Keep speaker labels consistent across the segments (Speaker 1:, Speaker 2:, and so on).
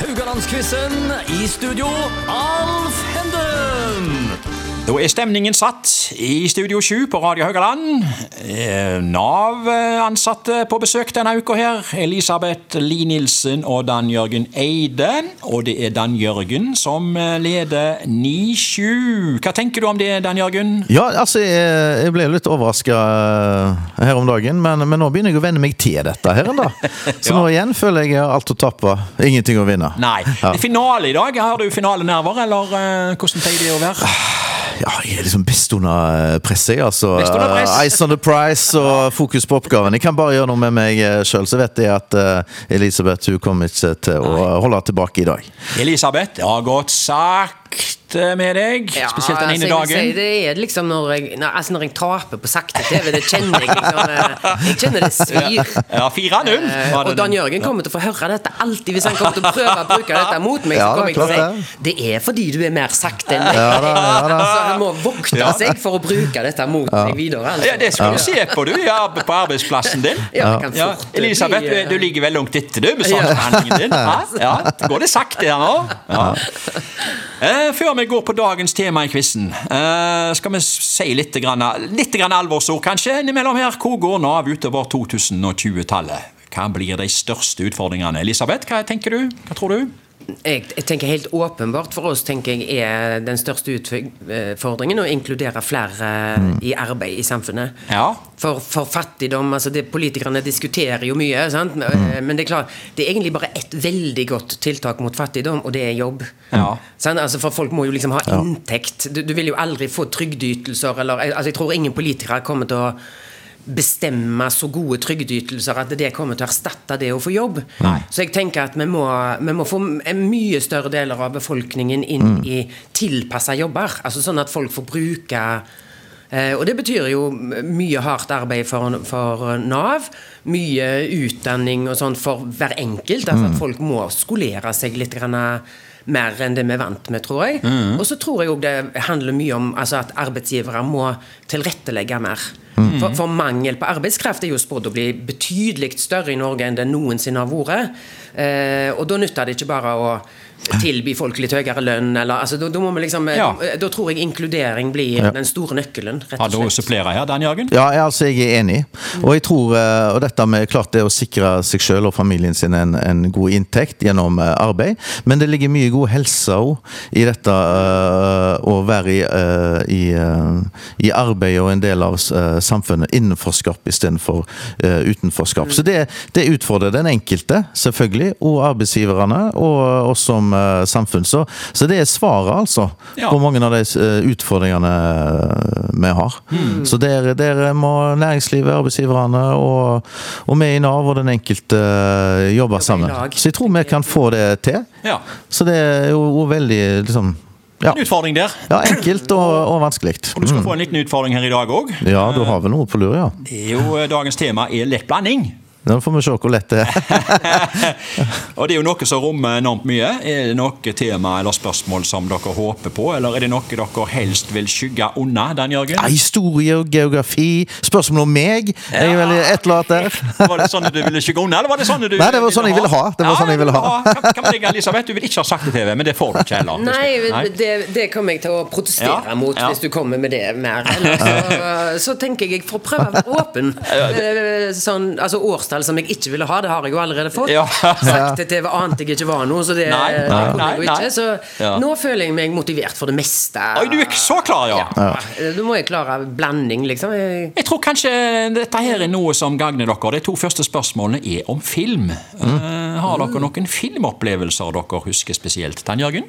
Speaker 1: Rogalandsquizen i studio, Alf Henden!
Speaker 2: Da er stemningen satt i Studio 7 på Radio Haugaland. Eh, Nav-ansatte på besøk denne uka her. Elisabeth Li Nilsen og Dan Jørgen Eide. Og det er Dan Jørgen som eh, leder 9-7. Hva tenker du om det, Dan Jørgen?
Speaker 3: Ja, altså, jeg, jeg ble jo litt overraska her om dagen, men, men nå begynner jeg å venne meg til dette her, da. Så nå igjen føler jeg jeg har alt å tape, ingenting å vinne.
Speaker 2: Nei.
Speaker 3: Ja.
Speaker 2: Det er finale i dag. Har du finalenerver, eller eh, hvordan pleier det å være?
Speaker 3: Ja, jeg er liksom best under eh, presset, jeg, altså.
Speaker 2: Best under press.
Speaker 3: Eh, Eyes on the prize og fokus på oppgaven. Jeg kan bare gjøre noe med meg sjøl, så vet jeg at eh, Elisabeth hun kommer ikke til å holde tilbake i dag.
Speaker 2: Elisabeth, det har gått sakte med deg. Spesielt
Speaker 4: altså,
Speaker 2: den ene
Speaker 4: jeg vil
Speaker 2: dagen.
Speaker 4: Si, det er liksom når jeg, nei, altså når jeg taper på sakte TV, det kjenner jeg liksom eh, Jeg kjenner det svir.
Speaker 2: Ja, 4-0.
Speaker 4: Eh,
Speaker 2: var
Speaker 4: Og
Speaker 2: det
Speaker 4: Dan
Speaker 2: den.
Speaker 4: Jørgen kommer til å få høre dette alltid hvis han kommer til å prøve å bruke dette mot meg. Så
Speaker 3: Ja,
Speaker 4: kommer jeg til
Speaker 3: det er
Speaker 4: å
Speaker 3: klart
Speaker 4: si det er fordi du er mer sakte enn meg.
Speaker 3: Ja da, ja da.
Speaker 4: Så han må vokte seg for å bruke dette mot meg videre. Altså.
Speaker 2: Ja, det skulle du se på, du, ja, på arbeidsplassen din.
Speaker 4: Ja, det kan
Speaker 2: Ja,
Speaker 4: fort bli,
Speaker 2: Elisabeth,
Speaker 4: eh,
Speaker 2: du, du ligger vel langt etter, du, med saksbehandlingen din. Hæ? Ja, går det sakte her nå? Ja. Eh, Før vi går på dagens tema i quizen, eh, skal vi si litt, grann, litt grann alvorsord kanskje innimellom her. Hvor går Nav utover 2020-tallet? Hva blir de største utfordringene? Elisabeth, hva tenker du? Hva tror du?
Speaker 4: Jeg, jeg tenker helt åpenbart for oss tenker jeg er den største utfordringen å inkludere flere eh, i arbeid i samfunnet.
Speaker 2: Ja.
Speaker 4: For, for fattigdom altså det, Politikerne diskuterer jo mye, sant? Men-
Speaker 2: Mm.
Speaker 4: eh, men det er klart, det er egentlig bare ett veldig godt tiltak mot fattigdom, og det er jobb.
Speaker 2: Ja.
Speaker 4: Sant? altså for Folk må jo liksom ha inntekt. Du, du vil jo aldri få trygdeytelser eller altså Jeg tror ingen politikere kommer til å bestemme så gode trygdeytelser at det kommer til å erstatte det å få jobb.
Speaker 2: Nei.
Speaker 4: Så jeg tenker at vi må, vi må få m- mye større deler av befolkningen inn
Speaker 2: Mm.
Speaker 4: i tilpassa jobber. Altså sånn at folk får bruke eh, Og det betyr jo m- mye hardt arbeid for, for Nav. Mye utdanning og sånn for hver enkelt. Altså at folk må skolere seg litt grann eh, mer enn det vi er vant med, tror jeg. Og så tror jeg òg det handler mye om altså at arbeidsgivere må tilrettelegge mer. For, for mangel på arbeidskraft er jo spådd å bli betydelig større i Norge enn det noensinne har vært. Eh, og da nytter det ikke bare å tilby folk litt høyere lønn, eller altså, da, da må vi liksom eh,
Speaker 2: Ja.
Speaker 4: Da tror jeg inkludering blir den store nøkkelen, rett
Speaker 2: Har
Speaker 4: og
Speaker 2: du å
Speaker 4: slett.
Speaker 2: supplere her, Dan Jørgen?
Speaker 3: Ja, jeg, altså, jeg er enig. Og jeg tror eh, og dette med klart det å sikre seg selv og familien sin en, en god inntekt gjennom eh, arbeid, men det ligger mye god helse også i dette eh, å være i, eh, i, eh, i arbeid og en del av eh, samfunnet innenforskap istedenfor eh, utenforskap. Så det, det utfordrer den enkelte, selvfølgelig, og arbeidsgiverne, og oss som eh, samfunn. Så, så det er svaret, altså,
Speaker 2: Ja.
Speaker 3: på mange av de eh, utfordringene eh, vi har. Så dere, dere må næringslivet, arbeidsgiverne og, og vi i Nav og den enkelte eh, jobbe sammen.
Speaker 4: lag.
Speaker 3: Så jeg tror vi kan få det til.
Speaker 2: Ja.
Speaker 3: Så det er jo, jo veldig liksom ja,
Speaker 2: En utfordring der.
Speaker 3: ja enkelt og, og vanskelig.
Speaker 2: Og du skal få en liten utfordring her i dag òg.
Speaker 3: Ja, du har vel noe på lur, ja.
Speaker 2: Dagens tema er lett blanding.
Speaker 3: Nå får vi se hvor lett det er.
Speaker 2: Og det er jo noe som rommer enormt mye. Er det noe tema eller spørsmål som dere håper på, eller er det noe dere helst vil skygge unna, Dan Jørgen?
Speaker 3: Ja, historie og geografi. Spørsmål om meg. Jeg er veldig et eller annet der.
Speaker 2: Var det sånne du ville skygge unna, eller var det sånne du
Speaker 3: Nei, det var sånn jeg ville ha. Det var sånn jeg ville ha.
Speaker 2: Ja, Kan, kan vi legge, Elisabeth, du vil ikke ha sagt det til TV, men det får du ikke heller.
Speaker 4: Nei, det, det kommer jeg til å protestere
Speaker 2: Ja,
Speaker 4: mot
Speaker 2: ja.
Speaker 4: hvis du kommer med det mer. Eller Så, så tenker jeg jeg får prøve å være åpen. Eh, Sånn, altså Årstall som jeg ikke ville ha, det har jeg jo allerede fått.
Speaker 2: Ja.
Speaker 4: Sagt til TV ante jeg ikke var noe, så det,
Speaker 2: Nei,
Speaker 4: det
Speaker 2: nei,
Speaker 4: kommer jeg jo
Speaker 2: nei, nei.
Speaker 4: ikke. Så
Speaker 2: Ja.
Speaker 4: nå føler jeg meg motivert for det meste.
Speaker 2: Oi, du er ikke så klar, ja.
Speaker 4: Eh, Nå må jeg klare blanding, liksom. Jeg,
Speaker 2: Jeg tror kanskje dette her er noe som gagner dere. De to første spørsmålene er om film.
Speaker 3: Mm.
Speaker 2: Eh, har dere noen filmopplevelser dere husker spesielt? Dan Jørgen?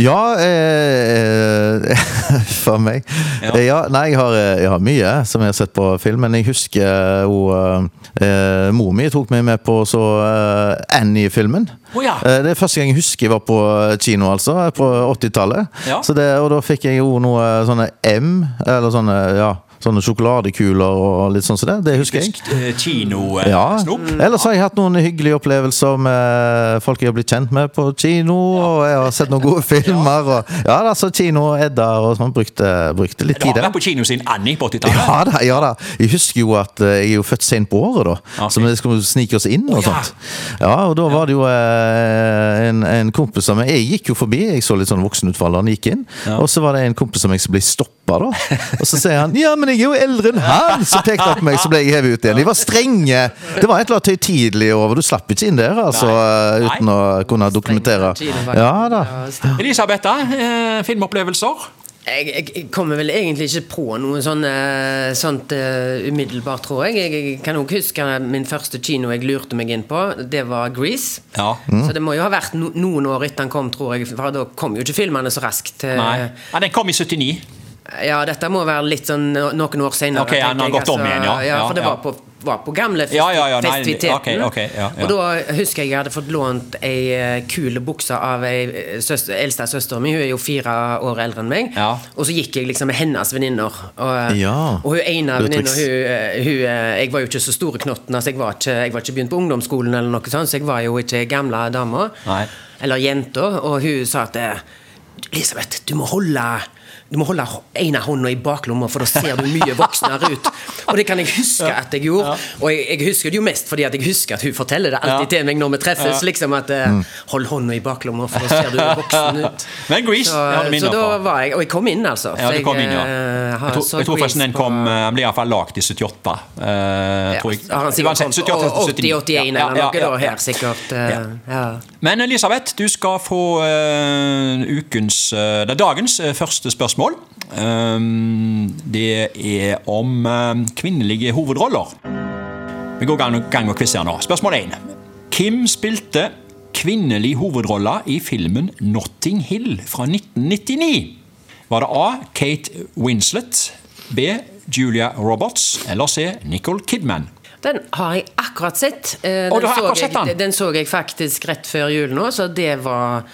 Speaker 3: Ja eh, eh, For meg.
Speaker 2: Ja.
Speaker 3: Ja. nei, jeg har, eh, jeg har mye som jeg har sett på film, men jeg husker jo eh, eh, Mor mi tok meg med på så eh, Annie-filmen.
Speaker 2: Å ja.
Speaker 3: Eh, det er første gang jeg husker jeg var på kino, altså. På 80-tallet.
Speaker 2: Ja.
Speaker 3: Så det- Og da fikk jeg jo noe sånne M, eh, eller sånne ja, sånne sjokoladekuler og litt sånn som det. Det husker jeg.
Speaker 2: eh,
Speaker 3: Ja.
Speaker 2: Kino-snop.
Speaker 3: Ellers har jeg hatt noen hyggelige opplevelser med folk jeg har blitt kjent med på kino. Og jeg har sett noen gode filmer. Og, ja da, så kino og Edda og sånn brukte, brukte litt
Speaker 2: Du har
Speaker 3: tid der.
Speaker 2: vært på kino siden Annie på 80-tallet?
Speaker 3: Ja da, ja da. Jeg husker jo at eh, jeg er jo født sent på året, da.
Speaker 2: Ah, Ok.
Speaker 3: Så vi skulle snike oss inn og
Speaker 2: Å, ja.
Speaker 3: sånt. Ja, og da var det jo eh, en, en kompis som Jeg gikk jo forbi, jeg så litt sånn voksen ut for alderen, gikk inn. Og så var det en kompis som jeg som ble stoppa, da. Og så sier han 'ja, men jeg er jo eldre enn han', så pekte han på meg, så ble jeg hevet ut igjen. De var strenge. Det var et eller annet høytidelig over. Du slapp ikke inn der, altså,
Speaker 2: Nei.
Speaker 3: eh,
Speaker 2: Nei.
Speaker 3: uten å kunne dokumentere. Ja da.
Speaker 2: Elisabetha, eh, filmopplevelser?
Speaker 4: Jeg, jeg, jeg kommer vel egentlig ikke på noe sånn, eh, sånt eh, umiddelbart, tror jeg. Jeg, jeg kan nok huske min første kino jeg lurte meg inn på. Det var Grease.
Speaker 2: Ja.
Speaker 4: Så det må jo ha vært no noen år etter han kom, tror jeg. For da kom jo ikke filmene så raskt. eh.
Speaker 2: Nei. Ja, den kom i 79.
Speaker 4: Ja, dette må være litt sånn no- noen år senere.
Speaker 2: Ok,
Speaker 4: tenker
Speaker 2: han har
Speaker 4: jeg, altså.
Speaker 2: gått om igjen, ja.
Speaker 4: ja
Speaker 2: Ja,
Speaker 4: for det
Speaker 2: ja.
Speaker 4: var på, var på gamle festi
Speaker 2: Ja, ja, ja, nei,
Speaker 4: festiviteten.
Speaker 2: ok, ok, ja, ja.
Speaker 4: Og da husker jeg jeg hadde fått lånt ei eh, kule bukse av ei eh, søster, eldste søsteren min. Hun er jo fire år eldre enn meg.
Speaker 2: Ja.
Speaker 4: Og så gikk jeg liksom med hennes venninner. Og, eh,
Speaker 3: Ja.
Speaker 4: og hun ene
Speaker 3: Det er
Speaker 4: venninna,
Speaker 3: triks.
Speaker 4: hun, eh, hun eh, Jeg var jo ikke så store knotten, altså jeg var ikke, jeg var ikke begynt på ungdomsskolen eller noe sånt, så jeg var jo ikke gamle dama.
Speaker 2: Nei.
Speaker 4: Eller jenta, og hun sa at eh, Elisabeth, du må holde du må holde ene hånda i baklomma, for da ser du mye voksnere ut. Og det kan jeg huske at jeg gjorde. Og jeg, jeg husker det jo mest fordi at jeg husker at hun forteller det alltid
Speaker 2: Ja.
Speaker 4: til meg når vi treffes. liksom at eh, Hold hånda i baklomma, for da ser du voksen ut.
Speaker 2: Men Grease,
Speaker 4: så,
Speaker 2: det har du minner
Speaker 4: så da
Speaker 2: fra.
Speaker 4: var jeg Og jeg kom inn, altså.
Speaker 2: Ja,
Speaker 4: for
Speaker 2: du kom inn, ja.
Speaker 4: eh, har
Speaker 2: Jeg tror,
Speaker 4: så
Speaker 2: jeg tror
Speaker 4: Grease
Speaker 2: forresten den
Speaker 4: på-
Speaker 2: kom eh, Han ble iallfall lagd i 78. eh,
Speaker 4: ja,
Speaker 2: tror jeg.
Speaker 4: har han sikkert
Speaker 2: Uansett,
Speaker 4: kommet
Speaker 2: 78,
Speaker 4: på
Speaker 2: 79.
Speaker 4: 80-81
Speaker 2: Ja, ja,
Speaker 4: eller noe
Speaker 2: ja,
Speaker 4: da
Speaker 2: ja.
Speaker 4: her, sikkert. eh, ja.
Speaker 2: Men Elisabeth, du skal få eh, ukens, eh, det er dagens eh, første spørsmål. Ehm, det er om eh, kvinnelige hovedroller. Vi går gang, gang og quiz her nå. Spørsmål 1. Hvem spilte kvinnelig hovedrolle i filmen Notting Hill fra 1999? Var det A. Kate Winslet, B. Julia Roberts eller C. Nicole Kidman?
Speaker 4: Den har jeg akkurat sett. Eh,
Speaker 2: Å, du har
Speaker 4: så
Speaker 2: akkurat sett
Speaker 4: jeg,
Speaker 2: den?
Speaker 4: den så jeg faktisk rett før jul nå, så det var,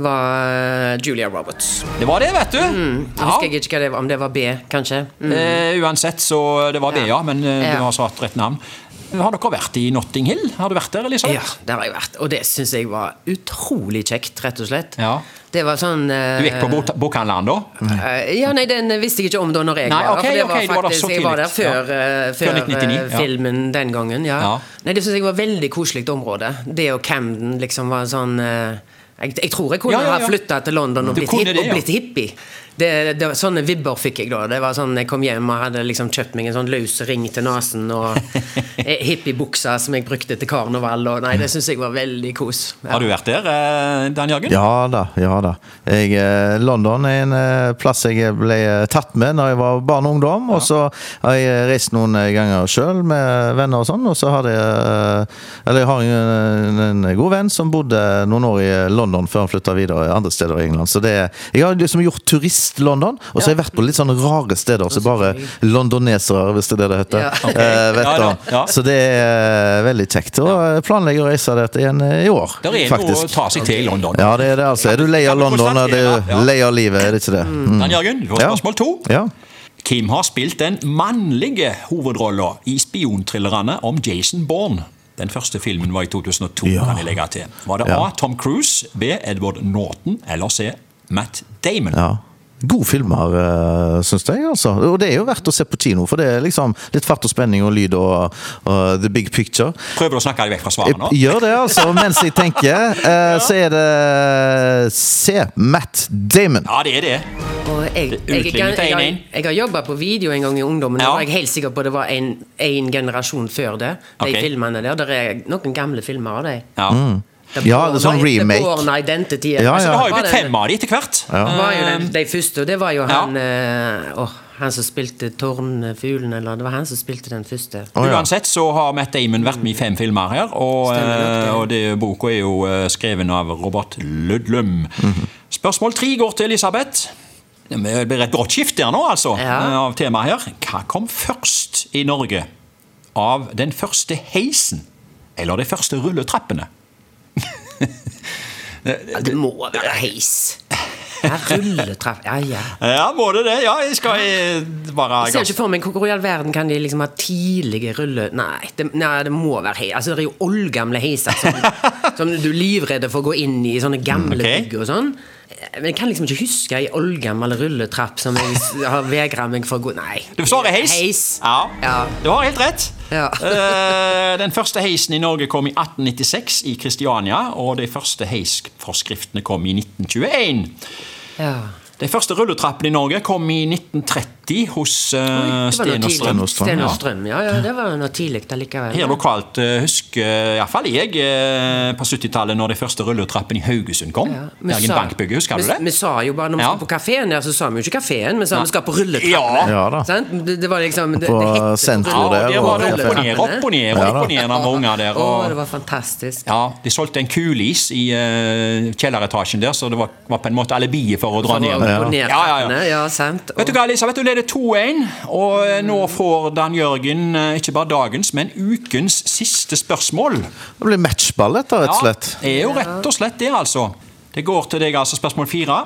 Speaker 4: var eh, Julia Roberts.
Speaker 2: Det var det, vet du.
Speaker 4: Mm, Jeg husker jeg ikke hva det var, om det var B, kanskje. Mm.
Speaker 2: Eh, uansett, så det var det, ja. Men eh,
Speaker 4: Ja.
Speaker 2: du har satt rett navn. Har dere vært i Notting Hill? Har du vært der, Elisabeth?
Speaker 4: Ja, der har jeg vært. Og det syns jeg var utrolig kjekt, rett og slett.
Speaker 2: Ja.
Speaker 4: Det var sånn eh,
Speaker 2: Du gikk på bot- bokhandleren da?
Speaker 4: Eh, Ja, nei, den visste jeg ikke om da når jeg
Speaker 2: Nei,
Speaker 4: var
Speaker 2: ok,
Speaker 4: der. For det var
Speaker 2: ok, du var der
Speaker 4: faktisk,
Speaker 2: så
Speaker 4: jeg var der
Speaker 2: tidlig. Ja.
Speaker 4: før, eh,
Speaker 2: Før
Speaker 4: før, eh,
Speaker 2: 1999, ja.
Speaker 4: filmen den gangen. Ja.
Speaker 2: Ja.
Speaker 4: Nei, Det syns jeg var veldig koselig område. Det og Camden liksom var sånn eh, jeg, jeg tror jeg kunne
Speaker 2: Ja, ja, ja.
Speaker 4: ha flytta til London og
Speaker 2: Du
Speaker 4: blitt,
Speaker 2: kunne
Speaker 4: hipp,
Speaker 2: det, ja.
Speaker 4: og blitt hippie. Det, det var Sånne vibber fikk jeg da. Det var sånn, Jeg kom hjem og hadde liksom kjøpt meg en sånn løs ring til nesen og eh, hippiebuksa som jeg brukte til karneval. Og, nei, Det syns jeg var veldig kos. Ja.
Speaker 2: Har du vært der, eh, Dan Jørgen?
Speaker 3: Ja da, ja da. Jeg, eh, London er en eh, plass jeg ble eh, tatt med når jeg var barn og ungdom. Og så har jeg eh, reist noen eh, ganger sjøl med venner og sånn. Og så har jeg eh, Eller jeg har en, en god venn som bodde noen år i eh, London før han flytta videre andre steder i England. Så det, jeg har liksom gjort turist-London, og så har jeg vært på litt sånne rare steder som bare londonesere, hvis det er det det heter,
Speaker 4: Ja.
Speaker 3: eh, vet
Speaker 2: Ja,
Speaker 3: om.
Speaker 2: da, ja.
Speaker 3: Så det er eh, veldig kjekt. Og jeg planlegger å reise dit igjen eh, i år,
Speaker 2: Der er noe
Speaker 3: faktisk.
Speaker 2: å ta seg til i London.
Speaker 3: Ja, det er det altså. Er du lei
Speaker 2: Kan
Speaker 3: av
Speaker 2: vi
Speaker 3: London, er
Speaker 2: konstatere, ja.
Speaker 3: du lei av livet, er det ikke det? Mm.
Speaker 2: Dan Jørgen, du har
Speaker 3: Ja.
Speaker 2: spørsmål to.
Speaker 3: Ja.
Speaker 2: Hvem har spilt den mannlige hovedrollen i spionthrillerne om Jason Bourne? Den første filmen var i 2002,
Speaker 3: Ja.
Speaker 2: kan jeg legge til. Var det
Speaker 3: Ja.
Speaker 2: A. Tom Cruise, B. Edward Norton eller C. Matt Damon?
Speaker 3: ja. Gode filmer, syns jeg. altså. Og det er jo verdt å se på kino, for det er liksom litt fart og spenning og lyd og, og the big picture.
Speaker 2: Prøver du å snakke deg vekk fra
Speaker 3: Jeg
Speaker 2: svaret nå?
Speaker 3: gjør det, altså. Mens jeg tenker, eh, så er det eh, Se Matt Damon.
Speaker 2: Ja, det er det.
Speaker 4: Og jeg, jeg, jeg,
Speaker 2: Utlignet
Speaker 4: jeg,
Speaker 2: en,
Speaker 4: jeg,
Speaker 2: en.
Speaker 4: jeg har jobba på video en gang i ungdommen. og
Speaker 2: Ja.
Speaker 4: Da var jeg helt sikker på at det var en, en generasjon før det. De
Speaker 2: Ok.
Speaker 4: filmene der. Der er noen gamle filmer av dem.
Speaker 2: Ja.
Speaker 3: Mm. Ja, det er sånn remake.
Speaker 4: Born Identity.
Speaker 3: Ja,
Speaker 2: Så
Speaker 3: ja.
Speaker 2: Altså, det har jo
Speaker 4: Var
Speaker 2: blitt
Speaker 4: det-
Speaker 2: fem av de etter hvert.
Speaker 4: det var jo den, de første, og det var jo
Speaker 2: Ja.
Speaker 4: han eh, åh, Han som spilte Tårnfuglen, eller Det var han som spilte den første.
Speaker 3: Å, ja.
Speaker 2: Uansett så har Matt Damon vært med i fem filmer her, og,
Speaker 4: Stemmer nok det.
Speaker 2: eh, og det, boka er jo eh, skrevet av Robert Ludlum.
Speaker 3: Mhm.
Speaker 2: Spørsmål tre går til Elisabeth. Det blir et brått skifte her nå, altså,
Speaker 4: Ja.
Speaker 2: eh, av temaet her. Hva kom først i Norge av den første heisen, eller de første rulletrappene?
Speaker 4: Ja, det må være heis. Ja, rulletrapp Ja, ja.
Speaker 2: Ja, må det det? Ja, jeg skal eh, bare
Speaker 4: Jeg ser ikke for meg hvor i all verden kan de liksom ha tidlige rulle... Nei, det, nei, det må være hei. Altså, det er jo oldgamle heiser som, som du er livredd for å gå inn i, sånne gamle
Speaker 2: ok.
Speaker 4: bygg og sånn. Men jeg kan liksom ikke huske ei oldgammel rulletrapp som jeg s- har vegra meg for å gå Nei.
Speaker 2: Du svarer heis?
Speaker 4: Heis.
Speaker 2: Ja.
Speaker 4: Ja.
Speaker 2: Du har helt rett.
Speaker 4: Ja.
Speaker 2: Eh, Den første heisen i Norge kom i 1896 i Kristiania, og de første heisforskriftene kom i 1921.
Speaker 4: Ja.
Speaker 2: De første rulletrappene i Norge kom i 1930 hos eh,
Speaker 4: Det var
Speaker 2: Steen
Speaker 4: noe
Speaker 2: og Strøm.
Speaker 4: tidlig.
Speaker 3: og Strøm,
Speaker 4: Sten og
Speaker 3: ja.
Speaker 4: Strøm. Ja, ja, det var noe tidlig allikevel.
Speaker 2: Her lokalt eh, husker iallfall jeg eh, på 70-tallet, når de første rulletrappene i Haugesund kom.
Speaker 4: Ja, vi
Speaker 2: Bergen
Speaker 4: sa-
Speaker 2: Bankbygge, husker du
Speaker 4: vi-
Speaker 2: det?
Speaker 4: Vi sa jo bare når vi
Speaker 2: Ja.
Speaker 4: skulle på kafeen der, så sa vi jo ikke kafeen, vi sa vi skal på rulletrappene.
Speaker 2: Ja.
Speaker 3: Ja da.
Speaker 4: Sant? Det, det var liksom det,
Speaker 3: På
Speaker 4: det heter-
Speaker 3: sentrum
Speaker 2: Ja,
Speaker 3: tror det,
Speaker 2: der
Speaker 4: og-
Speaker 2: var det opp og ned, opp og ned, opp og ned når vi var unger der.
Speaker 4: Å,
Speaker 2: Og
Speaker 4: det var fantastisk.
Speaker 2: Ja, De solgte en kulis i eh, kjelleretasjen der, så det var, var på en måte alibiet for å dra ned.
Speaker 4: Og ned
Speaker 2: Ja, ja,
Speaker 4: trappene,
Speaker 2: ja.
Speaker 4: ja, sant.
Speaker 2: Vet du hva, Elisabeth, du leder 2-1, og eh, nå får Dan Jørgen eh, ikke bare dagens, men ukens siste spørsmål.
Speaker 3: Det blir matchball, dette, rett og slett.
Speaker 2: Ja, det er jo rett og slett det, altså. Det går til deg, altså, spørsmål fire.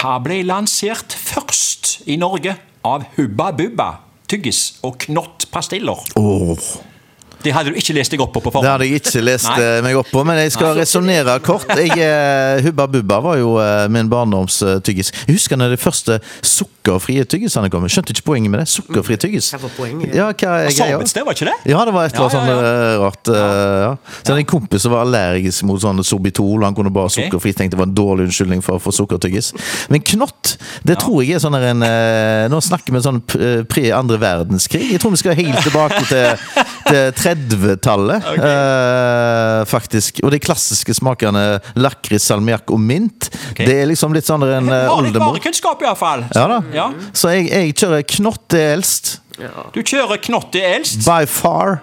Speaker 2: Hva ble lansert først i Norge av Hubba Bubba, tyggis og knottpastiller?
Speaker 3: Åh.
Speaker 2: Det hadde du ikke lest deg opp på på
Speaker 3: Det
Speaker 2: forhånd.
Speaker 3: hadde jeg ikke lest
Speaker 2: Nei.
Speaker 3: eh, meg opp på, men jeg skal resonnere kort. Jeg, eh, Hubba Bubba var jo eh, min barndomstyggis. Jeg husker når de første sukkerfrie tyggisene kom. Jeg skjønte ikke poenget med det.
Speaker 2: Mm.
Speaker 3: Sukkerfri tyggis.
Speaker 4: Hva var poenget?
Speaker 3: Ja, hva er greia?
Speaker 2: Sorbets, det var ikke det?
Speaker 3: Ja, det var et eller annet
Speaker 2: Ja, ja,
Speaker 3: sånn eh, rart. eh, ja. Så hadde jeg en kompis som var allergisk mot sånn sorbitol. og Han kunne bare ha
Speaker 2: Ok.
Speaker 3: sukkerfri. Tenkte det var en dårlig unnskyldning for å få sukkertyggis. Men knott, det tror jeg er sånn der en eh, Nå snakker vi sånn p- eh, pre andre verdenskrig. Jeg tror vi skal helt tilbake til, til 30-tallet,
Speaker 2: Ok.
Speaker 3: eh, faktisk. Og de klassiske smakene lakris, salmiakk og mint.
Speaker 2: Ok.
Speaker 3: Det er liksom litt sånn der en eh,
Speaker 2: Har litt
Speaker 3: oldemor.
Speaker 2: varekunnskap, iallfall.
Speaker 3: Ja da.
Speaker 2: Ja.
Speaker 3: Så jeg, jeg kjører knott det er eldst.
Speaker 2: Du kjører knott i eldst,
Speaker 3: By far.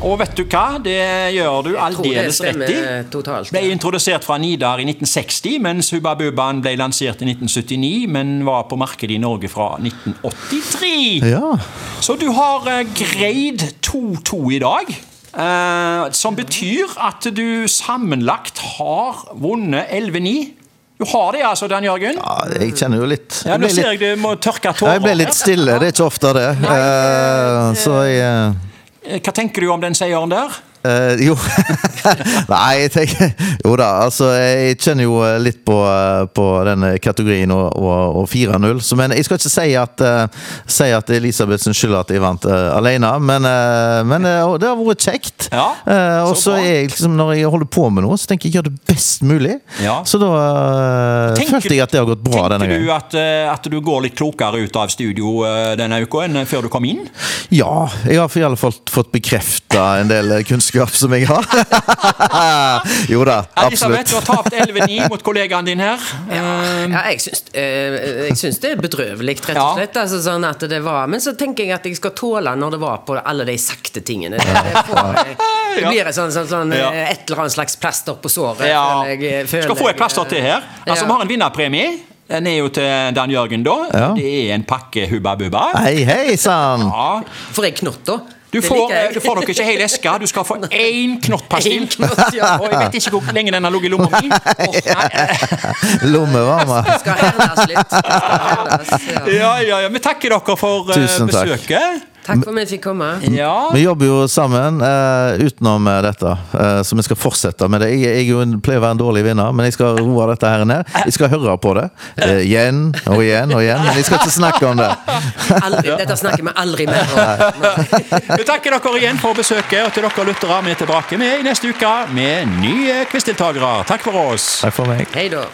Speaker 2: og vet du hva? Det gjør
Speaker 4: tror
Speaker 2: du
Speaker 4: det
Speaker 2: aldeles rett i.
Speaker 4: stemmer totalt.
Speaker 2: Ble introdusert fra Nidar i 1960, mens Hubba Bubbaen ble lansert i 1979, men var på markedet i Norge fra 1983.
Speaker 3: Ja.
Speaker 2: Så du har eh, greid 2-2 i dag. eh, som betyr at du sammenlagt har vunnet 11-9. Du har det altså, Dan Jørgen.
Speaker 3: Ja, jeg kjenner jo litt.
Speaker 2: Ja,
Speaker 3: Jeg
Speaker 2: nå
Speaker 3: ble
Speaker 2: ser
Speaker 3: litt
Speaker 2: jeg du må tørke
Speaker 3: Ja, jeg
Speaker 2: tårer.
Speaker 3: ble litt stille, det er ikke ofte det. Eh, så jeg eh,
Speaker 2: Eh, Hva tenker du om den seieren der?
Speaker 3: eh, Jo. Nei, jeg tenker Jo da, altså jeg kjenner jo eh, litt på, eh, på denne kategorien og, og, og 4-0. Så, Men jeg skal ikke si at, eh, si at Elisabethsen skylder at jeg vant eh, alene, men, eh, men eh, og det har vært kjekt.
Speaker 2: Ja,
Speaker 3: Eh, og
Speaker 2: så
Speaker 3: så
Speaker 2: bra.
Speaker 3: er jeg liksom, når jeg holder på med noe, så tenker jeg gjør det best mulig.
Speaker 2: Ja.
Speaker 3: Så da eh,
Speaker 2: Tenker-
Speaker 3: følte jeg at det har gått bra denne
Speaker 2: Tenker
Speaker 3: gangen.
Speaker 2: du at, eh, at du går litt klokere ut av studio eh, denne uka enn eh, før du kom inn?
Speaker 3: Ja, jeg har i alle fall fått bekrefta en del kunnskap som jeg har. jo da,
Speaker 2: Elisabeth,
Speaker 3: absolutt.
Speaker 2: du har tapt 11-9 mot kollegaen din her. Eh,
Speaker 4: Ja, jeg syns, eh, jeg syns det er bedrøvelig, rett og
Speaker 2: Ja.
Speaker 4: slett. Altså, sånn at det var, men så tenker jeg at jeg skal tåle når det var på alle de sakte tingene. Det, det, får, jeg- det
Speaker 2: Ja.
Speaker 4: blir et, sånn, sånn, sånn,
Speaker 2: Ja.
Speaker 4: eh, et eller annet slags plaster på såret.
Speaker 2: Ja.
Speaker 4: føler jeg- føler
Speaker 2: Skal få et
Speaker 4: jeg,
Speaker 2: plaster
Speaker 4: eh,
Speaker 2: til her. Altså,
Speaker 4: ja.
Speaker 2: Vi har en vinnerpremie. Den er jo til Dan Jørgen, da.
Speaker 3: Ja.
Speaker 2: Det er en pakke Hubba Bubba.
Speaker 3: Hei, hei sann!
Speaker 2: Ja.
Speaker 4: Får jeg knott, da?
Speaker 2: Du,
Speaker 4: Det
Speaker 2: får,
Speaker 4: liker jeg.
Speaker 2: eh, du får nok ikke hel eske. Du skal få én knottpastill.
Speaker 4: En knott, ja.
Speaker 2: Og jeg vet ikke hvor lenge den har ligget i lomma mi.
Speaker 3: Lommevarme.
Speaker 4: Skal hernes litt. Skal hernes, ja.
Speaker 2: Ja, ja, ja. Vi takker dere for eh,
Speaker 3: Tusen takk. Mm.
Speaker 2: besøket.
Speaker 4: Takk for at vi fikk komme.
Speaker 2: Ja.
Speaker 3: Vi jobber jo sammen eh, utenom eh, dette, eh, så vi skal fortsette med det. Jeg, jeg er jo en, pleier å være en dårlig vinner, men jeg skal roe dette her ned. Jeg skal høre på det eh, igjen og igjen og igjen, men jeg skal ikke snakke om det.
Speaker 4: Aldri, dette snakker vi aldri mer om.
Speaker 2: Vi takker dere igjen for besøket, og til dere lyttere, vi er tilbake med i neste uke med nye quizdeltakere. Takk for oss.
Speaker 3: Takk for meg.
Speaker 4: Hei da.